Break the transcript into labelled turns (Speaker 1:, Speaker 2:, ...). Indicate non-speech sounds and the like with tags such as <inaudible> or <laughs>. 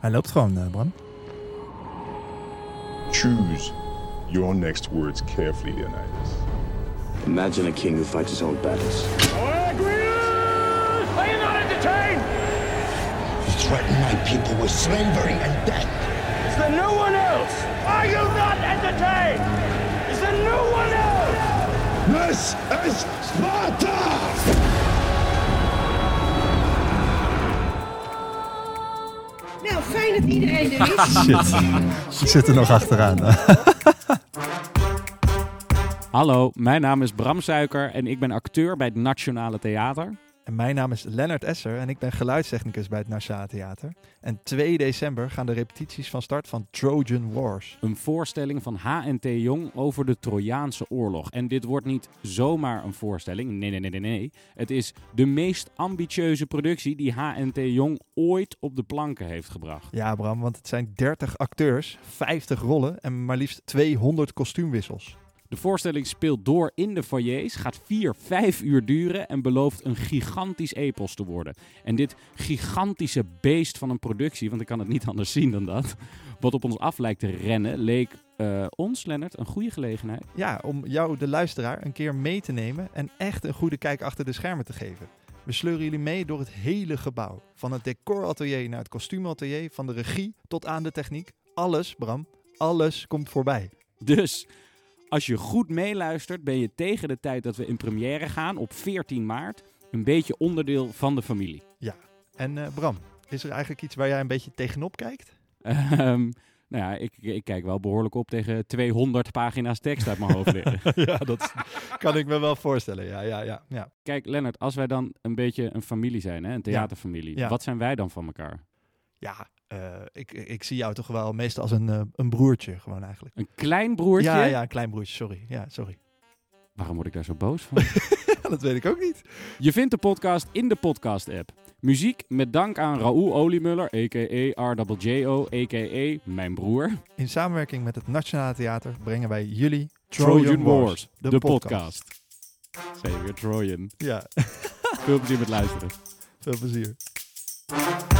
Speaker 1: Hij loopt gewoon, eh, Bram.
Speaker 2: Choose your next words carefully, Leonidas.
Speaker 3: Imagine a king who fights his own battles.
Speaker 4: Are you not entertained?
Speaker 5: You threaten my people with slavery and death.
Speaker 4: Is there no one else? Are you not entertained? Is there no one else?
Speaker 5: This is Sparta!
Speaker 6: Nou, fijn dat iedereen er is.
Speaker 1: Shit. Ik zit er nog achteraan.
Speaker 7: Hallo, mijn naam is Bram Suiker en ik ben acteur bij het Nationale Theater.
Speaker 8: En mijn naam is Lennart Esser en ik ben geluidstechnicus bij het Nationale Theater. En 2 december gaan de repetities van start van Trojan Wars.
Speaker 7: Een voorstelling van HNT Jong over de Trojaanse oorlog. En dit wordt niet zomaar een voorstelling. Nee, nee, nee, nee, nee. Het is de meest ambitieuze productie die HNT Jong ooit op de planken heeft gebracht.
Speaker 8: Ja, Bram, want het zijn 30 acteurs, 50 rollen en maar liefst 200 kostuumwissels.
Speaker 7: De voorstelling speelt door in de foyers, gaat 4, 5 uur duren en belooft een gigantisch epos te worden. En dit gigantische beest van een productie, want ik kan het niet <laughs> anders zien dan dat, wat op ons af lijkt te rennen, leek eh, ons, Lennart, een goede gelegenheid.
Speaker 8: Ja, om jou, de luisteraar, een keer mee te nemen en echt een goede kijk achter de schermen te geven. We sleuren jullie mee door het hele gebouw. Van het decoratelier naar het kostuumatelier, van de regie tot aan de techniek. Alles, Bram, alles komt voorbij.
Speaker 7: Dus als je goed meeluistert, ben je tegen de tijd dat we in première gaan op 14 maart een beetje onderdeel van de familie.
Speaker 8: En eh, Bram, is er eigenlijk iets waar jij een beetje tegenop kijkt?
Speaker 7: Ehm, nou ja, ik, ik kijk wel behoorlijk op tegen 200 pagina's tekst uit mijn hoofd leren.
Speaker 8: <laughs> ja, dat <laughs> kan ik me wel voorstellen. Ja, ja, ja, ja.
Speaker 7: Kijk, Lennart, als wij dan een beetje een familie zijn, hè, een theaterfamilie,
Speaker 8: Ja.
Speaker 7: wat zijn wij dan van elkaar?
Speaker 8: ja eh, ik, ik zie jou toch wel meestal als een, eh, een broertje gewoon eigenlijk.
Speaker 7: Een klein broertje?
Speaker 8: Ja, ja, een klein broertje, sorry. Ja, sorry.
Speaker 7: Waarom word ik daar zo boos van?
Speaker 8: <laughs>
Speaker 7: <laughs>
Speaker 8: Ja, dat weet ik ook niet.
Speaker 7: Je vindt de podcast in de podcast-app. Muziek met dank aan Raoul Oliemuller, a.k.a. RWJO, a.k.a. mijn broer.
Speaker 8: In samenwerking met het Nationale Theater brengen wij jullie
Speaker 7: Trojan, Wars, de, podcast. Zeker, Trojan.
Speaker 8: Ja, <laughs>
Speaker 7: Veel plezier met luisteren.
Speaker 8: veel plezier.